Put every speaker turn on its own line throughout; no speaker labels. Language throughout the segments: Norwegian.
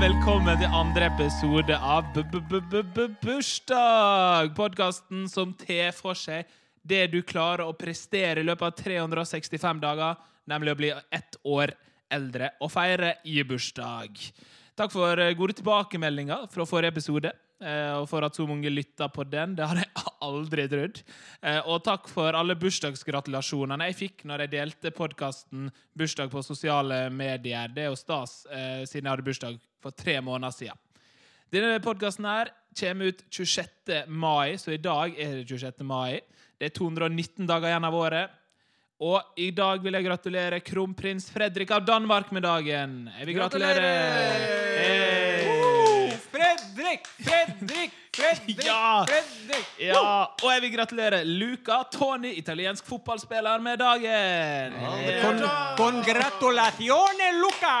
velkommen til andre episode av B-b-b-b-bursdag! Podkasten som tar for seg det du klarer å prestere i løpet av 365 dager, nemlig å bli ett år eldre og feire i bursdag. Takk for eh, gode tilbakemeldinger fra forrige episode. eh, Og for at så mange lytta på den. Det hadde jeg aldri trodd. Eh, Og takk for alle bursdagsgratulasjonene jeg fikk når jeg delte podkasten Bursdag på sosiale medier. Det er jo stas, eh, siden jeg hadde bursdag for tre måneder siden. Denne podkasten her kommer ut 26. mai, så i dag er det 26. mai. Det er 219 dager igjen av året. Og i dag vil jeg gratulere kronprins Fredrik av Danmark med dagen. Jeg vil gratulere! Hey.
Fredrik, Fredrik, Fredrik,
Ja.
Fredrik.
Ja, og jeg vil gratulere Luca Tony, italiensk fotballspiller, med dagen.
Con, congratulazione, Luca!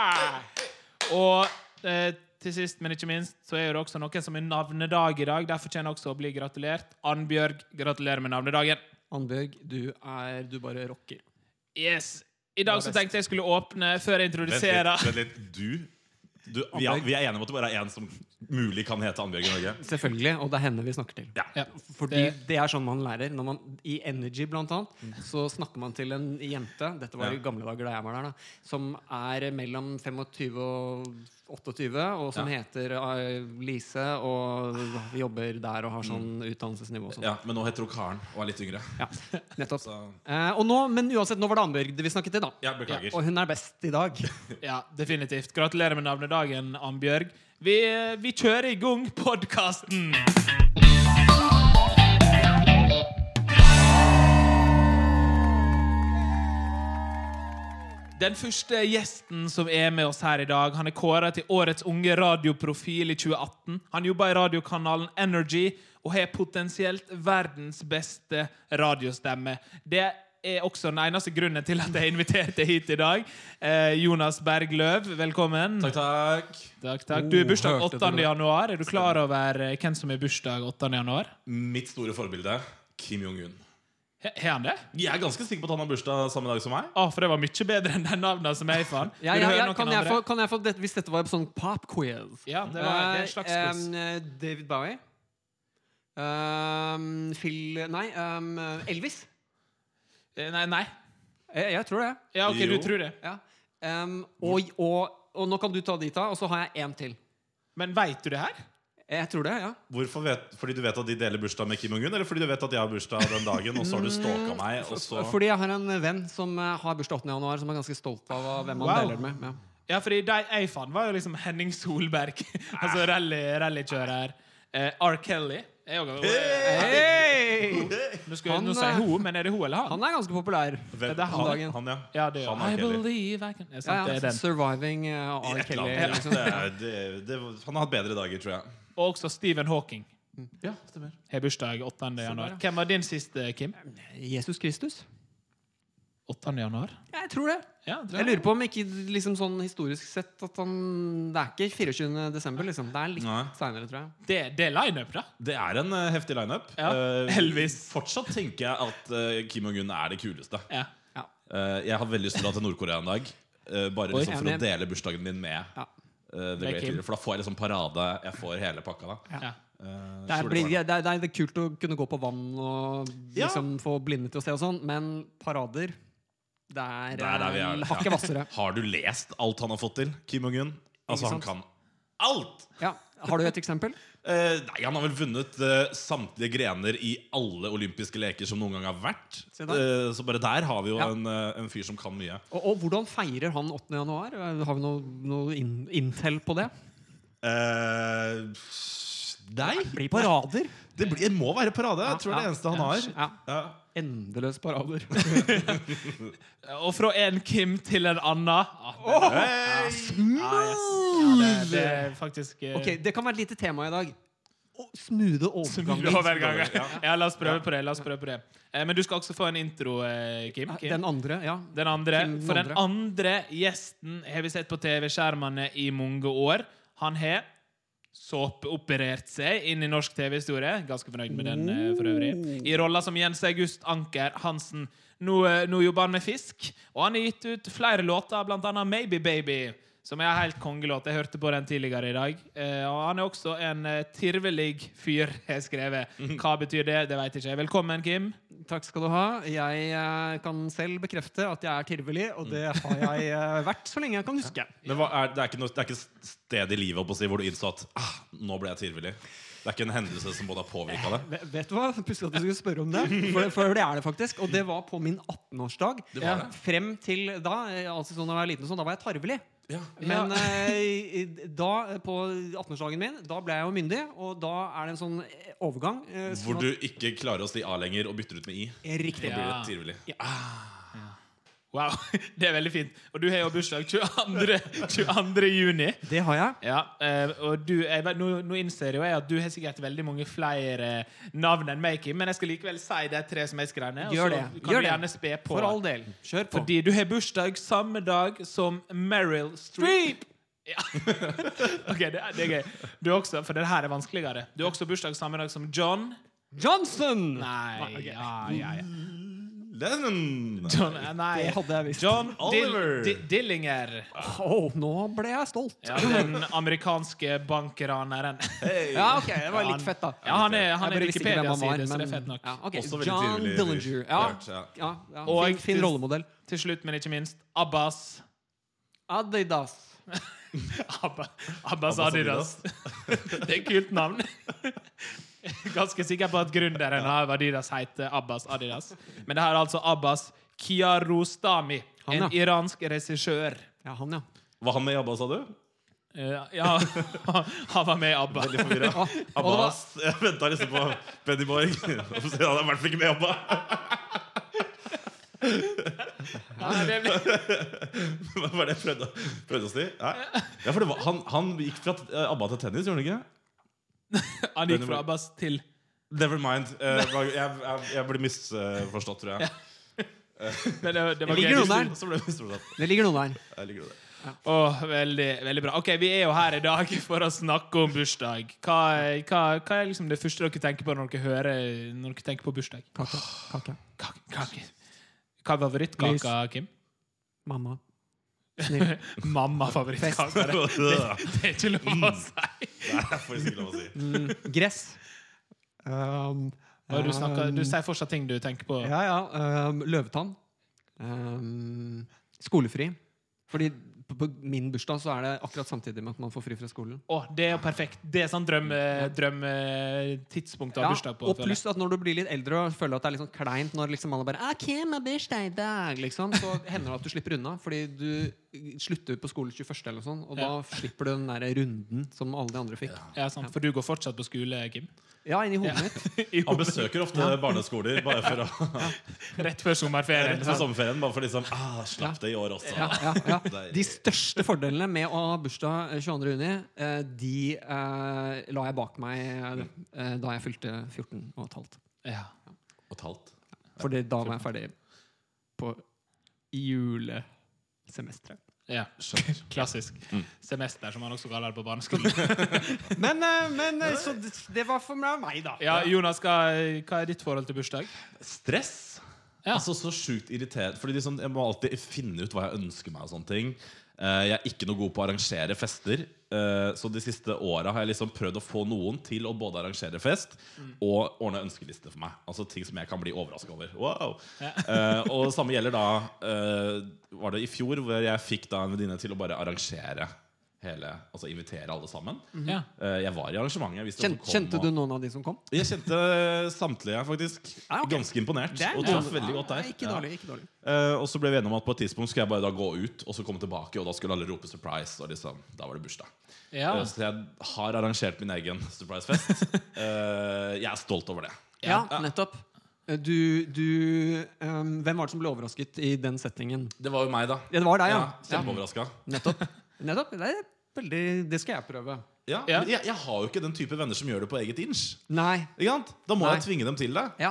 Og eh, til sist, men ikke minst, så er det også noen som har navnedag i dag. Derfor tjener jeg også å bli gratulert. Annbjørg, gratulerer med navnedagen.
Annbjørg, du er Du bare rocker.
Yes. I dag så tenkte jeg skulle åpne før jeg introduserer.
Vent litt, vent litt. Du, du vi, er, vi er enige om at det bare er én som mulig kan hete Annbjørg i Norge.
Selvfølgelig, og det er henne vi snakker til.
Ja.
Ja.
Fordi det, er sånn man lærer. Når man, I Energy, blant annet, så snakker man til en jente Dette var
Ja.
i gamle dager da jeg var der, da. Som er mellom 25 og 28, og som heter eh, Lise, og jobber der og har sånn utdannelsesnivå og sånn.
Ja, men nå heter hun Karen og er litt yngre.
Ja, nettopp.
Så
Eh, og nå, men uansett, nå var det Annbjørg det vi snakket til, da.
jeg beklager.
Og hun er best i dag.
Ja, definitivt. Gratulerer med navnedagen, Annbjørg. Vi, eh, vi kjører i gang podkasten! Den første gjesten som er med oss her i dag, han er kåra til årets unge radioprofil i 2018. Han jobber i radiokanalen Energy og har potensielt verdens beste radiostemme. Det er også den eneste grunnen til at jeg inviterte hit i dag. Eh, Jonas Bergløv, velkommen.
Takk, takk.
Takk, takk. Du er bursdag
hørte du
8.
det?
januar. Er du klar over eh, hvem som er bursdag 8. januar?
Mitt store forbilde Kim Jong-un.
He- Har han det?
Jeg er ganske sikker på at han har bursdag samme dag som meg.
Å, for det var mye bedre enn de navnene som jeg fant.
Ja,
Vil du
ja,
høre
ja,
noen
kan, jeg
andre?
få, kan jeg få dette, Hvis dette var sånn pop-quiz
Ja, det var det er en slags
Eh,
quiz.
em, David Bowie. Em, Phil Nei, em, Elvis.
Eh, Nei, nei.
Jeg, Eh, jeg tror det.
Ja, ok,
Jo.
du tror det.
Ja. Em, og, og, og nå kan du ta de ta, og så har jeg én til.
Men veit du det her?
Jeg tror det, ja.
Hvorfor vet, Fordi du vet at de deler bursdag med Kim Jong-un, eller fordi du vet at jeg har bursdag den dagen, og så har du stalka meg, og så
Fordi jeg har en venn som eh, har bursdag 8. januar, som er ganske stolt av hvem han
Wow.
deler det med. Ja.
Ja, fordi de jeg fant, var jo liksom Henning Solberg. altså rally, rallykjører. Eh, R. Kelly. Er jo, nå skal jeg
Han,
nå sier
eh,
hun, men er det hun eller han?
Han er ganske populær.
Hvem-
det er han
dagen.
han, ja.
ja, det er jo.
han er
I
Kelly.
believe I can ja, sant,
Ja,
det er
ja,
den.
surviving eh, R.
Et eller
Kelly.
annet.
Liksom.
Det er- det- det- Han har hatt bedre dager, tror jeg.
Og også Stephen Hawking
Ja, stemmer
har bursdag 8. januar. Hvem var din siste, Kim?
Jesus Kristus?
8. januar?
Jeg tror det.
Ja, tror
Jeg lurer på om ikke liksom sånn historisk sett at han Det er ikke 24. desember, liksom. Det er litt
Nei.
seinere, tror jeg.
Det, det er line-up, da.
Det er en eh, heftig lineup.
Ja,
Eh,
Elvis.
Fortsatt tenker jeg at eh, Kim Jong-un er det kuleste.
Ja.
Ja.
Eh, jeg har veldig lyst til å dra til Nord-Korea en dag. eh, bare
Oi,
liksom for
enig.
å dele bursdagen min med
Ja.
eh, The
Med
Great
Kim.
Leader. For da får jeg liksom parade. Jeg får hele pakka da.
Ja.
Eh,
Det,
så
er,
blir
blir,
det
det, er, det er kult å kunne gå på vann og
Ja.
liksom få blinde til å se og sånn, men parader Det er,
Der er vi, ja.
eh, hakket hvassere.
barn. Har du lest alt han har fått til, Kim Jong-un? Altså, han
sant?
kan alt!
Ja. Har du et eksempel?
Eh, nei, Han har vel vunnet eh, samtlige grener i alle olympiske leker som noen gang har vært.
Se der.
Eh, så bare der har vi jo
Ja.
en, eh, en fyr som kan mye.
Og, og hvordan feirer han 8. januar? Har vi noe, noe in, intel på det?
Eh, nei.
Blir parader.
Det, blir, det må være parade. Jeg tror det er det eneste han har.
Ja.
Ja.
Endeløs parader.
Og fra en Kim til en annen. Ah, det, Ah, ja, det, det er faktisk eh,
Ok, Det kan være et lite tema i dag. Å, Smoothe
smil
overganger.
over gangen. Ja, la oss prøve på det. La oss prøve på det. Eh, Men du skal også få en intro, eh, Kim. Kim.
Ah, Den andre, ja.
Den andre,
Kim den
for den
andre.
andre gjesten har vi sett på TV-skjermene i mange år. Han har såpeoperert seg inn i norsk TV-historie. Ganske fornøyd med den eh, for øvrig. I rolla som Jens August Anker Hansen. Nå, eh, nå jobber han med fisk, og han har gitt ut flere låter, blant annet Maybe Baby, som er helt kongelåt. Jeg hørte på den tidligere i dag. Eh, og han er også en eh, tirvelig fyr, har jeg skrevet. Hva betyr det? Det veit ikke jeg. Velkommen, Kim.
Takk skal du ha. Jeg eh, kan selv bekrefte at jeg er tirvelig, og det har jeg eh, vært så lenge jeg kan huske.
Men hva er, det, er ikke noe, det er ikke et sted i livet holdt på å si, hvor du innså at ah, nå ble jeg tilvillig. Det er ikke en hendelse som både har påvirka deg.
Ve- Vet du hva? Pussig at du skulle spørre om det. For, for det er det faktisk. Og det var på min 18-årsdag.
Det var det.
Frem til da, eh, altså sånn da jeg var liten, og sånn, da var jeg tarvelig.
Ja.
Men eh, i- da, eh, på 18-årsdagen min, da ble jeg jo myndig, og da er det en sånn eh, overgang. eh, sånn
Hvor
at-
du ikke klarer å si A lenger og bytter ut med I.
Riktig.
Da blir det tilvillig.
Wow, det er veldig fint. Og du har jo bursdag 22. 22. juni.
Det har jeg.
Ja, eh, og du, jeg, vet- nå, nå innser jo jeg at du har sikkert veldig mange flere navn enn meg, Kim, men jeg skal likevel si de tre som jeg skrev ned. og
Gjør
så
det.
Kan
Gjør
du
det.
gjerne spe på.
For all del. Kjør på.
Fordi du har bursdag samme dag som Meryl Streep. Ja. ok, det er, det er gøy. Du er også, for det her er vanskeligere. Du har også bursdag samme dag som John.
Johnson!
Nei, ja, ja, ja.
Lennon!
John, eh, nei.
Det hadde jeg visst.
John Dill
Oliver.
Di- Dillinger.
Åh, nå ble jeg stolt.
Ja, den amerikanske bankraneren.
Ja, ok, det var litt fett, da.
Ja, han er, han er
Jeg bare visste ikke hvem han var,
Wikipedia-side, så det er
men-
fett nok.
Ja, ok.
Også veldig
John
trivelig.
Dillinger. Ja, ja,
Ja.
ja.
Og
Fin, fin
til-
rollemodell.
Til slutt, men ikke minst, Abbas.
Adidas.
Abba, Abbas Adidas. Det er et kult navn. Ganske sikker på at gründeren av Adidas heter Abbas Adidas. Men det her er altså Abbas Kiarostami,
Han,
en
ja.
iransk regissør.
Ja, han, ja.
Var han med i ABBA, sa du?
Eh, ja, han var med i ABBA.
Veldig forvirra. ABBA Jeg venta liksom på Benny Borg. Han er i hvert fall ikke med i ABBA.
Nei, det ble-
Hva var det jeg prøvde, å- prøvde å si? Nei. Ja, for det var, han, han gikk fra t- eh, ABBA til tennis, gjorde han ikke?
Han gikk fra Abbas til
Never mind. Eh, jeg, jeg, jeg ble misforstått, tror jeg.
Men det, det var
Ligger
gøy.
noe der?
Så ble jeg misforstått.
Det ligger noen der.
Jeg liker det.
Åh, veldig, veldig bra. Ok, Vi er jo her i dag for å snakke om bursdag. Hva, hva, hva er liksom det første dere tenker på når dere hører Når dere tenker på bursdag?
Kake. kake.
Kake. kake. Hva er favorittkaka, Kim?
Mamma. Snill.
Mamma favorittkaka. Det,
Det
det er ikke lov å
Mm.
si.
er faktisk ikke lov å si.
Gress. Um,
Og du, snakker, du
um,
sier fortsatt ting du tenker på.
Ja, ja. Um, løvetann. Um, skolefri. Fordi på, på min bursdag så er det akkurat samtidig med at man får fri fra skolen.
Åh, det er jo perfekt. Det er sånn drømmetidspunkt drømme tidspunkt å ha
Ja,
bursdag på.
og
føler jeg.
pluss at når du blir litt eldre og føler at det er litt sånn kleint når liksom alle bare «Ah, Kim har bursdag i dag», liksom, Så hender det at du slipper unna, fordi du slutter på skolen 21. eller noe sånt, og
Ja.
da slipper du den der runden som alle de andre fikk.
Ja, sant, for du går fortsatt på skole, Kim?
Ja, inni hodet mitt.
I
Han
hodet,
besøker ofte barneskoler bare for å
rett før sommerferien.
rett før sommerferien. Bare for liksom ah, Slapp det i år også.
Ja, ja, ja.
Deilig.
De største fordelene med å ha bursdag eh, 22. juni, eh, de eh, la jeg bak meg eh, da jeg fylte 14 og et halvt.
sånn. Ja.
Og et halvt.
For det- da var jeg ferdig på julesemesteret.
Ja.
Skjønner.
Klassisk.
Mm.
Semester, som man også kaller det på barneskolen.
Men, eh, men eh, så det, det var for meg, da.
Ja, Jonas, hva, hva er ditt forhold til bursdag?
Stress?
Ja.
Altså så sjukt irritert Fordi liksom, jeg må alltid finne ut hva jeg ønsker meg og sånne ting Eh, Jeg er ikke noe god på å arrangere fester eh, Så de siste årene har jeg liksom prøvd å få noen til å både arrangere fest
Mm.
Og ordne ønskeliste for meg Altså ting som jeg kan bli overrasket over Wow Eh, Og det samme gjelder da eh, Var det i fjor hvor jeg fikk da en venninne til å bare arrangere Hele, altså invitere alle sammen
Mhm. Ja.
Eh, Jeg var i arrangementet jeg visste hvem
Mm. Kjen,
som kom
kjente
og-
du noen av de som kom?
jeg kjente samtlige, faktisk.
Ja, Ah, ok.
Ganske imponert.
Det er
Og
bra.
traff veldig godt der.
Ja, Ikke dårlig, ikke dårlig.
Ja. Eh, og så ble vi enige om at på et tidspunkt skulle jeg bare da gå ut og så komme tilbake, og da skulle alle rope 'surprise', og liksom, da var det bursdag.
Ja.
Eh, så jeg har arrangert min egen surprise-fest. Eh, jeg er stolt over det.
Ja, nettopp. Eh, Du, du ehm, Hvem var det som ble overrasket i den settingen?
Det var jo meg, da.
Det var deg, ja.
Ja, Kjempeoverraska.
Nettopp. Nettopp. Det, er veldig, det skal jeg prøve.
Ja.
Ja.
men Jeg, jeg har jo ikke den type venner som gjør det på eget inch.
Nei.
Ikke sant? Da må
Nei.
jeg tvinge dem til det.
Ja.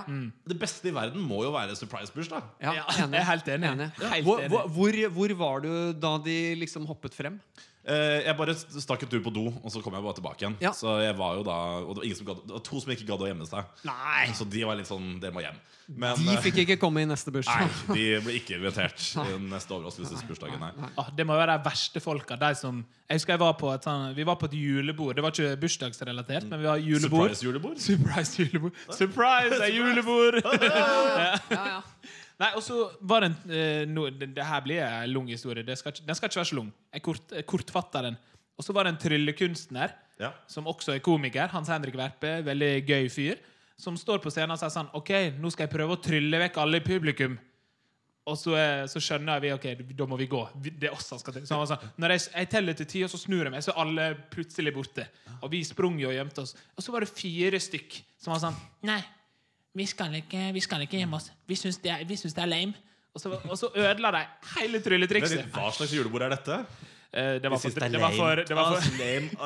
Det beste i verden må jo være surprise-bursdag.
ja
Ja,
enig.
jeg er helt enig.
Enig.
Helt
Hvor,
enig.
hvor, hvor- hvor var du da de liksom hoppet frem?
Eh, jeg bare stakk en tur på do, og så kom jeg bare tilbake igjen.
Ja.
Så jeg var jo da Og det var, ingen som gadd, det var to som ikke gadd å gjemme seg.
Nei!
Så de var litt sånn Dere må hjem. Men
De
eh,
fikk ikke komme i neste bursdag.
nei, de ble ikke invitert i den neste overraskelsesbursdagen. Nei.
Ah, det må være de verste folka. De som, jeg husker jeg var på et, sånn, vi var på et julebord. Det var ikke
Mm.
bursdagsrelatert, men vi var julebord.
Surprise-julebord?
Surprise julebord. Surprise, det er julebord!
Ja, ja.
Nei, og så var det en eh, no, det, det her blir en lang historie. Det skal, ikke- den skal ikke være så lang. Jeg kort, jeg kortfatter den. Og så var det en tryllekunstner
Ja.
som også er komiker. Hans Henrik Verpe, veldig gøy fyr. Som står på scenen og sier sånn OK, nå skal jeg prøve å trylle vekk alle i publikum. Og så, eh, så skjønner vi ok, da må vi gå. Vi- Det er oss som skal til. Så han var sånn, Når jeg, jeg teller til ti, og så snur jeg meg, så er alle plutselig borte. Og vi sprang jo og gjemte oss. Og så var det fire stykk som var sånn Nei, vi skal ikke, vi skal ikke gjemme oss. Vi syns det, er- vi syns det er lame. Og så, og så ødela de hele
Men
trylletrikset.
Hva slags julebord er dette? Altså,
Eh, Det var for,
synes det er
det var for, det var for
Ah,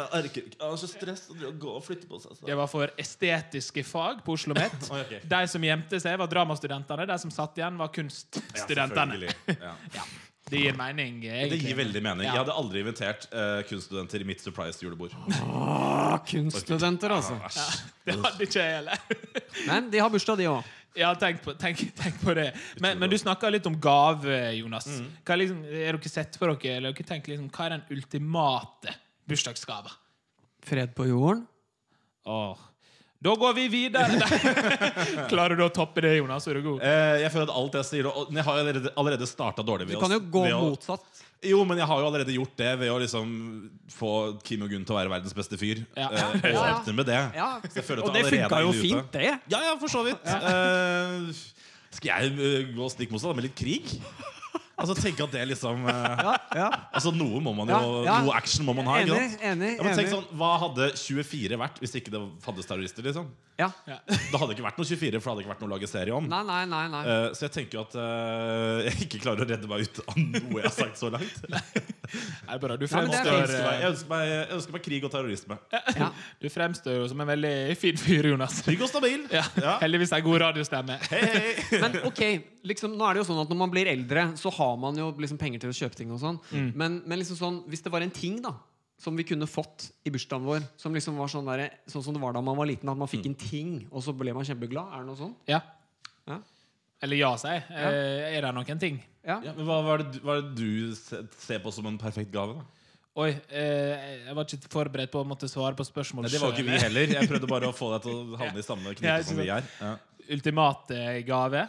så stress å gå og flytte på seg. altså.
Det var for estetiske fag på Oslo Met.
Oi, ok.
De som gjemte seg, var dramastudentene. De som satt igjen, var kunststudentene.
Ja.
det gir mening. eh,
Det
egentlig.
gir veldig mening.
Ja.
Jeg hadnde aldri invitert eh, kunststudenter i mitt surprise-julebord.
Ah, kunststudenter, altså.
Æsj.
Det hadde ikke jeg heller.
Men de har bursdag, de òg.
Ja, tenk på, tenk, tenk på det. Men, men du snakka litt om gave, Jonas.
Mm.
Hva er, liksom, er dere sett for dere, eller dere tenker liksom, hva er den ultimate bursdagsgava?
Fred på jorden.
Åh. Da går vi videre! Klarer du å toppe det, Jonas? Er du god?
Eh, jeg føler at alt jeg sier og Jeg har jo allerede, allerede starta dårlig. ved
Du
å-
kan jo gå
ved å-
motsatt.
Jo, men jeg har jo allerede gjort det ved å liksom få Kim og Gunn til å være verdens beste fyr.
Ja.
Eh, og
Ja.
åpne med det.
Ja.
Så jeg føler at
Og det
allerede
funka
er
jo
ute.
fint, det.
Ja, ja, for så vidt. Eh, skal jeg eh, gå stikk motsatt da, med litt krig? Altså, tenk at det liksom eh,
Ja, ja.
Altså, noe må man jo
Ja, ja.
Noe action må man ha. ikke
Enig,
sant?
enig.
Ja, men tenk
enig.
sånn, Hva hadde 24 vært hvis ikke det fantes terrorister? liksom?
Ja.
Ja.
Det hadde ikke vært noe 24, for det hadde ikke vært noe å lage serie om.
Nei, nei, nei. nei.
Eh, så jeg tenker jo at eh, jeg ikke klarer å redde meg ut av noe jeg har sagt så langt.
Er det bra? Du
Ja, men det er
fremstår,
Så jeg ønsker meg,
eh,
jeg ønsker meg, jeg ønsker meg krig og terrorisme.
Ja.
du fremstår jo som en veldig fin fyr, Jonas.
Trygg og stabil.
Ja.
Ja.
Heldigvis ei god radiostemme.
Hei, hei.
Men ok, liksom, nå er det jo sånn at når man blir eldre, så har man jo liksom penger til å kjøpe ting og sånn.
Mm.
Men, men liksom sånn, hvis det var en ting da som vi kunne fått i bursdagen vår, som liksom var sånn, der, sånn som det var da man var liten, at man fikk
Mm.
en ting, og så ble man kjempeglad. Er det noe sånt?
Ja.
Ja.
Eller ja, sier jeg. Eh, Er det noen ting?
Ja.
Ja, men hva, hva, er det, du- hva er det du se- ser på som en perfekt gave? da?
Oi, eh, jeg var ikke forberedt på å måtte svare på spørsmål
Nei, det var jo ikke vi
selv.
heller. Jeg prøvde bare å få deg til å havne i samme
Ja,
knipe som vi er. Ja.
eh, Ultimate gave.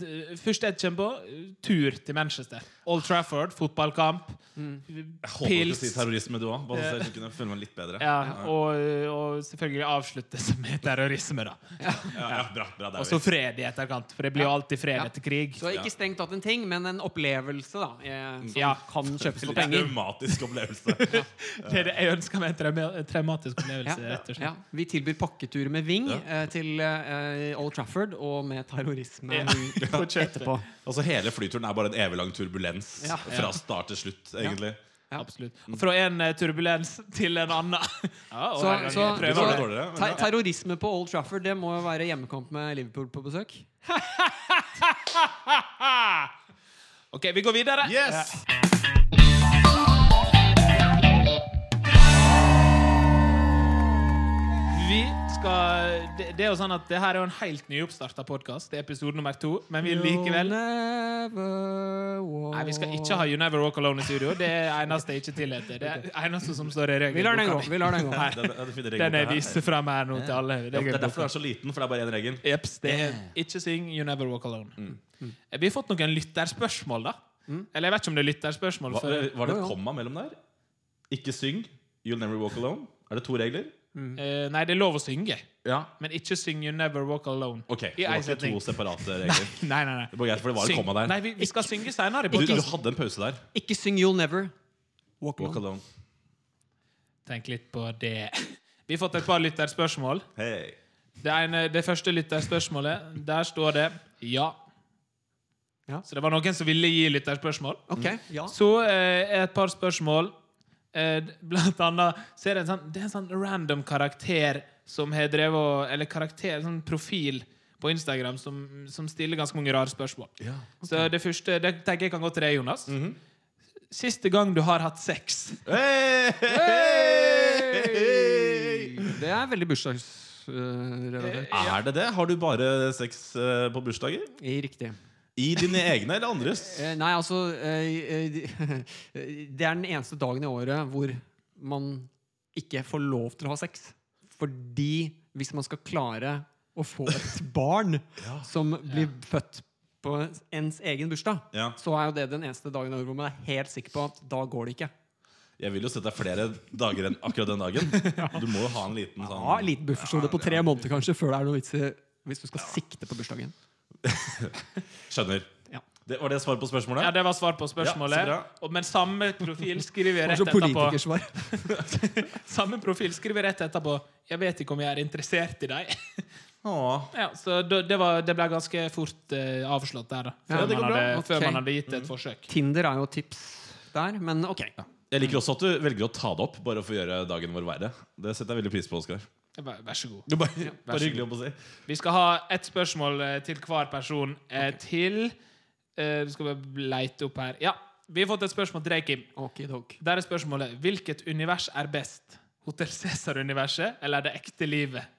D- Første jeg kommer på, tur til Manchester. Old Trafford, fotballkamp.
Jeg håper du
Pils.
sier terrorisme, du òg. Bare så jeg kunne føle meg litt bedre.
Ja, og, og selvfølgelig avsluttes med terrorisme, da.
Ja, ja, bra, bra, det
Og
er
så
vi.
fred i etterkant, for det blir jo alltid fred
Ja.
etter krig.
Så
Ja. Mm.
ikke strengt tatt en ting, men en opplevelse da eh, som
Ja.
kan kjøpes for
Litt
penger.
traumatisk opplevelse.
Det er det jeg ønsker meg en trauma- traumatisk opplevelse,
Ja,
rett og
ja.
slett.
Vi tilbyr pakketur med Ving
Ja.
eh, til eh, Old Trafford og med terrorisme
Ja. På kjøpet.
etterpå.
Altså Hele flyturen er bare en evig lang turbulens
Ja.
fra start til slutt. egentlig
Ja.
Absolutt. Fra en eh, turbulens til en annen. Ja, og
Så,
en gang
så,
prøver
var
det.
det dårligere, men
ter
ja.
terrorisme på Old Trafford, det må jo være hjemmekamp med Liverpool på besøk.
Ok, vi går videre.
Yes!
Vi skal, det, det er jo sånn at det her er jo en helt nyoppstarta podkast. Det er episode nummer to. Men vi likevel Nei, vi skal ikke ha You Never Walk Alone i studio. Det er eneste jeg ikke tillater. Det er eneste som står i
Vi lar den gå.
regelboka.
vi lar den gå
Det er- det er en fin
Den
regel på
jeg
her.
viser fram her nå til alle.
Ja, Det er derfor du
regelboka.
er så liten, for det er bare én regel.
Jeps, det er Ikke syng You Never Walk Alone.
Mm.
Eh, Vi har fått noen lytterspørsmål, da. Eller jeg vet ikke om det er lytterspørsmål.
Hva, eh,
For,
var det
Jo,
et
jo.
komma mellom der? Ikke syng. You'll never walk alone. Er det to regler?
eh, nei, det er lov å synge,
Ja.
men ikke syng You Never Walk Alone.
Ok, så
I
det var
en
ikke
setning.
to separate regler.
Nei, nei, nei.
Det var greit, for det var et
Syng.
komma der.
Nei, vi, vi skal synge senere i
Du, du
podcasten.
hadde en pause der.
Ikke syng You'll Never. Walk
Walk
Alone.
alone.
Tenk litt på det. Vi har fått et par lytterspørsmål.
Hey.
Det, ene, det første lytterspørsmålet, der står det ja.
Ja.
Så det var noen som ville gi lytterspørsmål.
Ok, ja.
Så eh, er et par spørsmål. Eh, blant annet så er det en sånn, det er en sånn random karakter som har drevet og- Eller karakter, en sånn profil på Instagram
Mhm.
som, som stiller ganske mange rare spørsmål. Så det første det tenker jeg kan gå til deg, Jonas. siste gang du har hatt sex?
Hey!
Det er veldig bursdagsrelatert.
Er det det? Har du bare sex eh, på bursdager?
Riktig.
I dine egne eller andres?
Eh, Nei, altså eh, eh, Det er den eneste dagen i året hvor man ikke får lov til å ha sex. Fordi hvis man skal klare å få et barn som blir født på ens egen bursdag,
Ja.
så er jo det den eneste dagen i året hvor man er helt sikker på at da går det ikke.
Jeg vil jo sette deg flere dager enn akkurat den dagen. Du må jo ha en liten sånn
Ja, en liten buffersone på tre måneder kanskje før det er noe vits i hvis du skal sikte på bursdagen.
Skjønner.
Ja.
Det, var det svaret på spørsmålet?
Ja, det var svar på
Ja, så
spørsmålet.
bra.
Og- men samme profil skriver jeg
Det
rett
er som
etterpå.
politikersvar.
Samme profil skriver jeg rett etterpå. Jeg vet ikke om jeg er interessert i deg.
Åh.
Ja, så da- det, var, det ble ganske fort eh, avslått der, da. Før,
Ja, det
man,
går
hadde,
bra.
før
Ok. Mm.
man hadde gitt det et forsøk.
Tinder er jo et tips der, men ok.
Jeg liker også at du velger å ta det opp bare for å gjøre dagen vår verre. Det setter jeg veldig pris på, Oskar.
Jeg bare, Vær så god.
Det er Bare,
vær
bare
så
hyggelig å si.
Vi skal ha ett spørsmål eh, til hver person. eh, Til eh, Skal vi leite opp her Ja, vi har fått et spørsmål til deg, Kim.
Okidok.
Der er spørsmålet Hvilket univers er best? Hotell Cæsar-universet eller det ekte livet?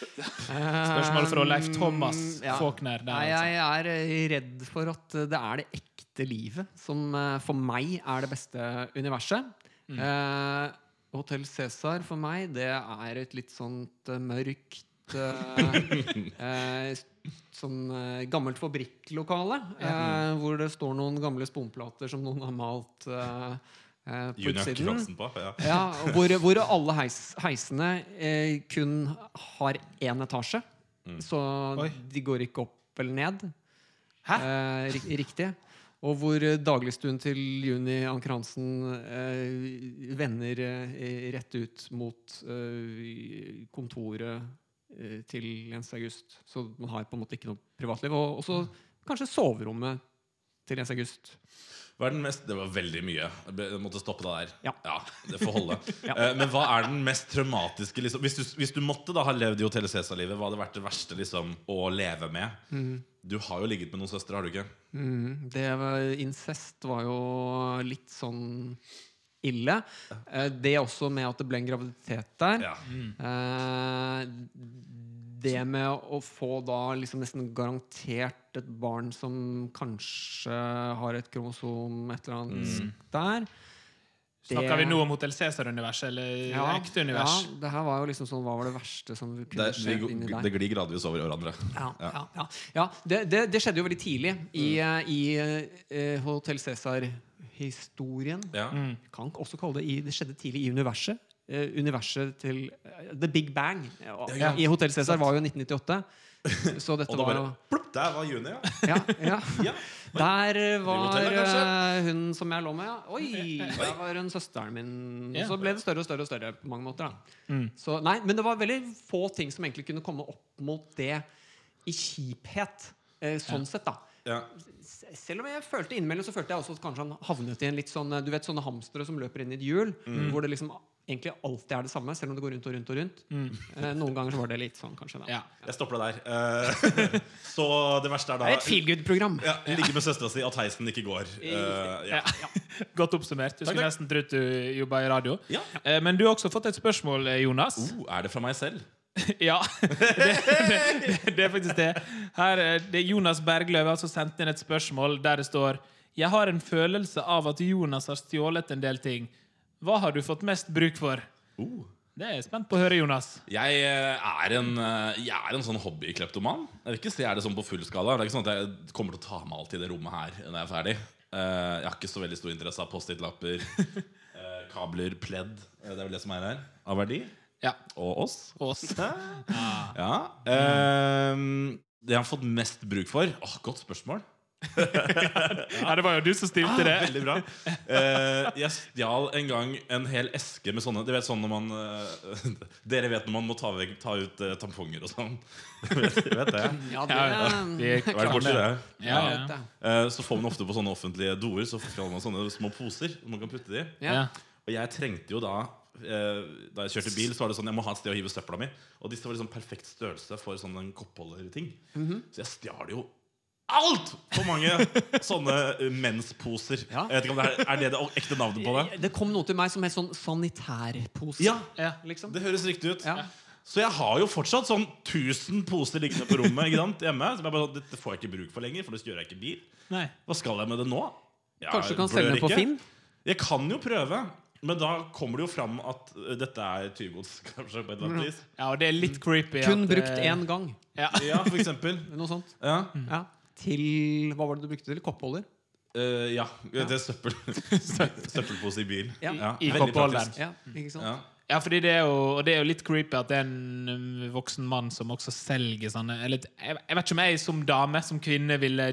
Spørsmål fra Leif Thomas
Um, ja.
Faulkner. Der,
Nei,
altså.
jeg er eh, redd for at eh, det er det ekte livet som eh, for meg er det beste universet.
Mm.
Eh, Hotell Cæsar for meg, det er et litt sånt eh, mørkt eh, eh, s- Sånn eh, gammelt fabrikklokale eh, hvor det står noen gamle sponplater som noen har malt eh, eh, på
Junior
utsiden.
Kransen på. Ja.
Ja, hvor, hvor alle heis, heisene eh, kun har én etasje. Så
Oi.
de går ikke opp eller ned.
Hæ?
Eh, rik- riktig. Og hvor eh, dagligstuen til Juni Ankransen eh, vender eh, rett ut mot eh, kontoret eh, til Jens August. Så man har på en måte ikke noe privatliv. Og også kanskje soverommet til Jens August.
Hva er den mest Det var veldig mye. Jeg ble- jeg måtte stoppe deg der.
Ja.
Det får holde.
Ja.
Eh, Men hva er den mest traumatiske liksom? hvis, du, hvis du måtte da ha levd i Hotell Cæsar-livet, hva hadde vært det verste liksom, å leve med?
Mhm.
Du har jo ligget med noen søstre, har du ikke?
Mm, det var, incest var jo litt sånn ille. Eh, Det også med at det ble en graviditet der.
Ja. Mm.
Eh, Det med å få da liksom nesten garantert et barn som kanskje har et kromosom et eller annet
Mm.
der.
Snakker vi nå om Hotell Cæsar-universet eller
Ja,
ekte univers?
Ja, det her var jo liksom sånn Hva var det verste som kunne
Det, vi,
skjedd inni der?
det glir gradvis over i hverandre.
Ja, ja, ja. ja det, det, det skjedde jo veldig tidlig i,
Mm.
eh, i eh, Hotel Cæsar-historien.
Ja.
Kan ikke også kalle det i, Det skjedde tidlig i universet. Eh, universet til eh, The Big Bang eh,
Ja,
i Hotel Cæsar var jo 1998. Så dette
Og da
var
bare
jo
plopp, Der var Juni, ja.
ja, ja.
ja.
Der var
hotellet, kanskje?
eh, hun som jeg lå med. Ja. Oi! Der var hun søsteren min.
Ja.
Så ble det større og større og større på mange måter. Da. Så, nei, men det var veldig få ting som egentlig kunne komme opp mot det i kjiphet. Eh, sånn sett, da.
ja.
S- Selv om jeg følte innimellom, så følte jeg også at kanskje han havnet i en litt sånn eh, Du vet sånne hamstere som løper inn i et hjul, hvor det liksom egentlig alltid er det samme, selv om det går rundt og rundt og rundt. Eh, noen ganger så var det litt sånn, kanskje. Da.
Ja.
Jeg stopper deg der. Eh, så det verste er
Det er et
da
feel good-program.
ja, Ligge med søstera si at heisen ikke går. Eh, ja.
Godt oppsummert. Du skulle
takk.
nesten trodd du jobba i radio.
Ja.
Eh, Men du har også fått et spørsmål, eh, Jonas.
Oh, er det fra meg selv?
Ja, det, det, det, det er faktisk det. Her, eh, det er Jonas Bergløv har altså sendt inn et spørsmål der det står Jeg har en følelse av at Jonas har stjålet en del ting. Hva har du fått mest bruk for?
Oh.
Det er jeg spent på å høre, Jonas.
Jeg eh, er en, eh, jeg er en sånn hobbykleptoman. Jeg vil ikke si jeg er det sånn på full skala. Det er ikke sånn at jeg kommer til å ta med alt i det rommet her når jeg er ferdig. Eh, jeg har ikke så veldig stor interesse av Post-It-lapper, eh, kabler, pledd. Eh, det er vel det som er her. Av verdi.
Ja,
Og oss.
oss.
Ja. ehm, det jeg har fått mest bruk for Åh, Godt spørsmål.
Ja, det var jo du som stilte det.
Ah, Veldig bra. Eh, jeg stjal en gang en hel eske med sånne Dere vet, sånn når man, eh, dere vet når man må ta, vekk, ta ut eh, tamponger og sånn. vet, vet det.
Ja, det,
Ja, ja. Vi
Hva er det borti det?
Ja,
jeg
ja.
vet det.
Eh, Så får man ofte på sånne offentlige doer Så får man sånne små poser man kan putte det i.
Ja.
Ja.
Og jeg trengte jo da eh, Da jeg kjørte bil, så var det sånn jeg må ha et sted å hive
Mhm.
søpla mi. Og disse var liksom perfekt størrelse for sånn en koppholderting. Så jeg stjal jo altfor mange sånne eh, mensposer.
Ja.
Jeg vet ikke om det er, er det det ekte navnet på det?
Det kom noe til meg som het sånn sanitærpose.
Ja,
Ja.
liksom.
det høres riktig ut.
Ja.
Så jeg har jo fortsatt sånn 1000 poser liggende på rommet ikke sant, hjemme. Som jeg bare, sånn, Dette får jeg ikke bruk for lenger, for det kjører jeg ikke bil.
Nei.
Hva skal jeg med det nå? Jeg
Kanskje du kan
blør
selge den på
ikke.
Finn?
Jeg kan jo prøve, men da kommer det jo fram at eh, dette er tyvgods. Kanskje på et eller annet vis
Ja, og det er litt creepy.
Kun
at,
brukt
eh,
én gang.
Ja.
Ja, for eksempel.
Noe sånt.
Ja.
Ja. Mm. Til Hva var det du brukte til? Koppholder?
Eh, ja. Det er søppel. søppelpose i bil.
Ja.
I
Veldig
koppholderen.
praktisk.
Ja, ikke sant?
Ja.
Ja, fordi det er jo, og det er jo litt creepy at det er en um, voksen mann som også selger sånne eller, jeg, jeg vet ikke om jeg som dame, som kvinne, ville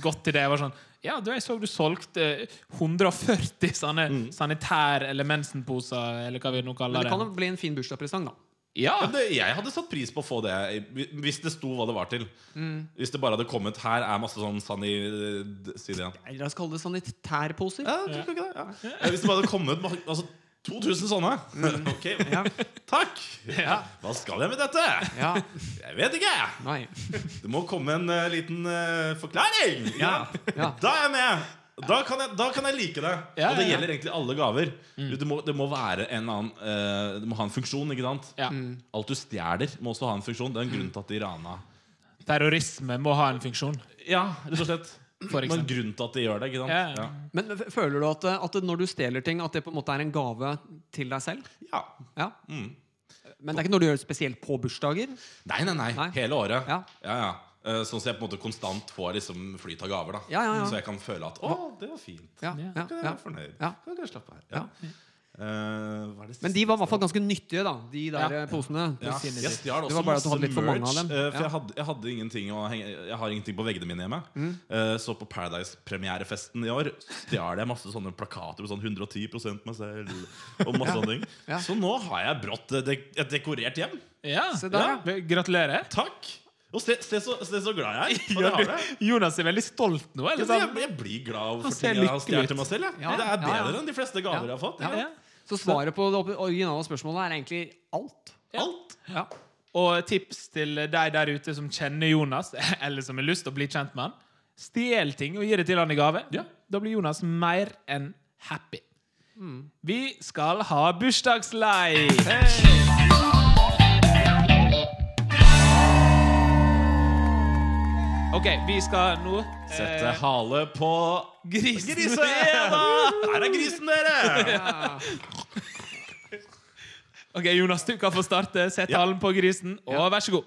gått til det. Jeg var sånn Ja, du, jeg så du solgte eh, 140 sånne sanitær- eller mensenposer, eller hva vi nå
Men
kaller
det
det.
kan jo bli en fin bursdagspresang, da.
Ja,
Ja, det, jeg hadde satt pris på å få det i- hvis det sto hva det var til. Hvis det bare hadde kommet her er masse sånn sani... Si det igjen.
Eller la oss kalle det sanitærposer.
Ja, jeg tror ikke det, ja. Eh, Hvis det bare hadde kommet ma- altså, 2000 sånne. Ok,
Ja.
takk!
Ja.
Hva skal jeg med dette?
Ja.
Jeg vet ikke.
Nei.
Det må komme en eh, liten eh, forklaring.
Ja. Ja.
Da er jeg med! Da kan jeg, da kan jeg like det.
Ja,
og
ja,
det
ja.
gjelder egentlig alle gaver. Det, må, det må være en annen eh, Det må ha en funksjon, ikke sant?
ja.
Alt du stjeler, må også ha en funksjon. Det er en grunn til at de rana
Terrorisme må ha en funksjon,
Ja, rett og slett.
for
Men
eksempel.
grunnen til at de gjør det, ikke sant?
Ja, ja.
Men f- føler du at, eh, at når du stjeler ting, at det på en måte er en gave til deg selv?
Ja.
Ja.
Mm.
Men det er ikke noe du gjør spesielt på bursdager?
Nei, nei, nei,
Nei.
Hele året.
Ja.
Ja, ja. Eh, Sånn at jeg på en måte konstant får liksom flyt av gaver. da
Ja, ja, ja.
Så jeg kan føle at 'Å, det var fint'.
Ja, ja,
Kan jeg
ja.
være fornøyd?
Ja.
Kan jeg slappe her? Ja. Eh, hva er det
Men
siste?
de var i hvert fall ganske nyttige, da. De der
Ja.
eh, posene.
Ja.
På sinnet
Jeg
sitt.
stjal
Det
også
var bare at du
masse
hadde litt for mange av
merch,
dem.
eh, For
Ja.
jeg, hadde, jeg, hadde ingenting å henge, jeg har ingenting på veggene mine hjemme.
Mm.
Eh, Så på Paradise-premierefesten i år stjal jeg masse sånne plakater med sånn 110 meg selv. Og masse sånne ting
Ja.
Så nå har jeg brått eh, dek et dekorert hjem.
Ja.
Se der,
ja. Gratulerer.
Takk! Og se, se, så, se så glad jeg er. Og
Ja,
det har det.
du- Jonas er veldig stolt nå.
Ja,
Eller
men jeg,
sånn?
jeg blir glad
Han
for
ser
ting jeg har
lykkelig ut.
stjålet til meg selv. jeg.
Ja,
Det er
ja,
bedre
ja.
enn de fleste gaver jeg har fått.
Ja.
Så svaret på det opp- originale spørsmålet er egentlig alt.
Alt.
Ja.
Og tips til deg der ute som kjenner Jonas, eller som har lyst til å bli kjent med han. Stjel ting og gi det til han i gave. Da blir Jonas mer enn happy.
Mm.
Vi skal ha bursdagsleir! OK, vi skal nå eh,
Sette
Eh.
hale på
grisen.
grisen. Ja, da. Her er grisen, dere!
OK, Jonas, du kan få starte. Sett
Ja.
halen på grisen, og vær så god.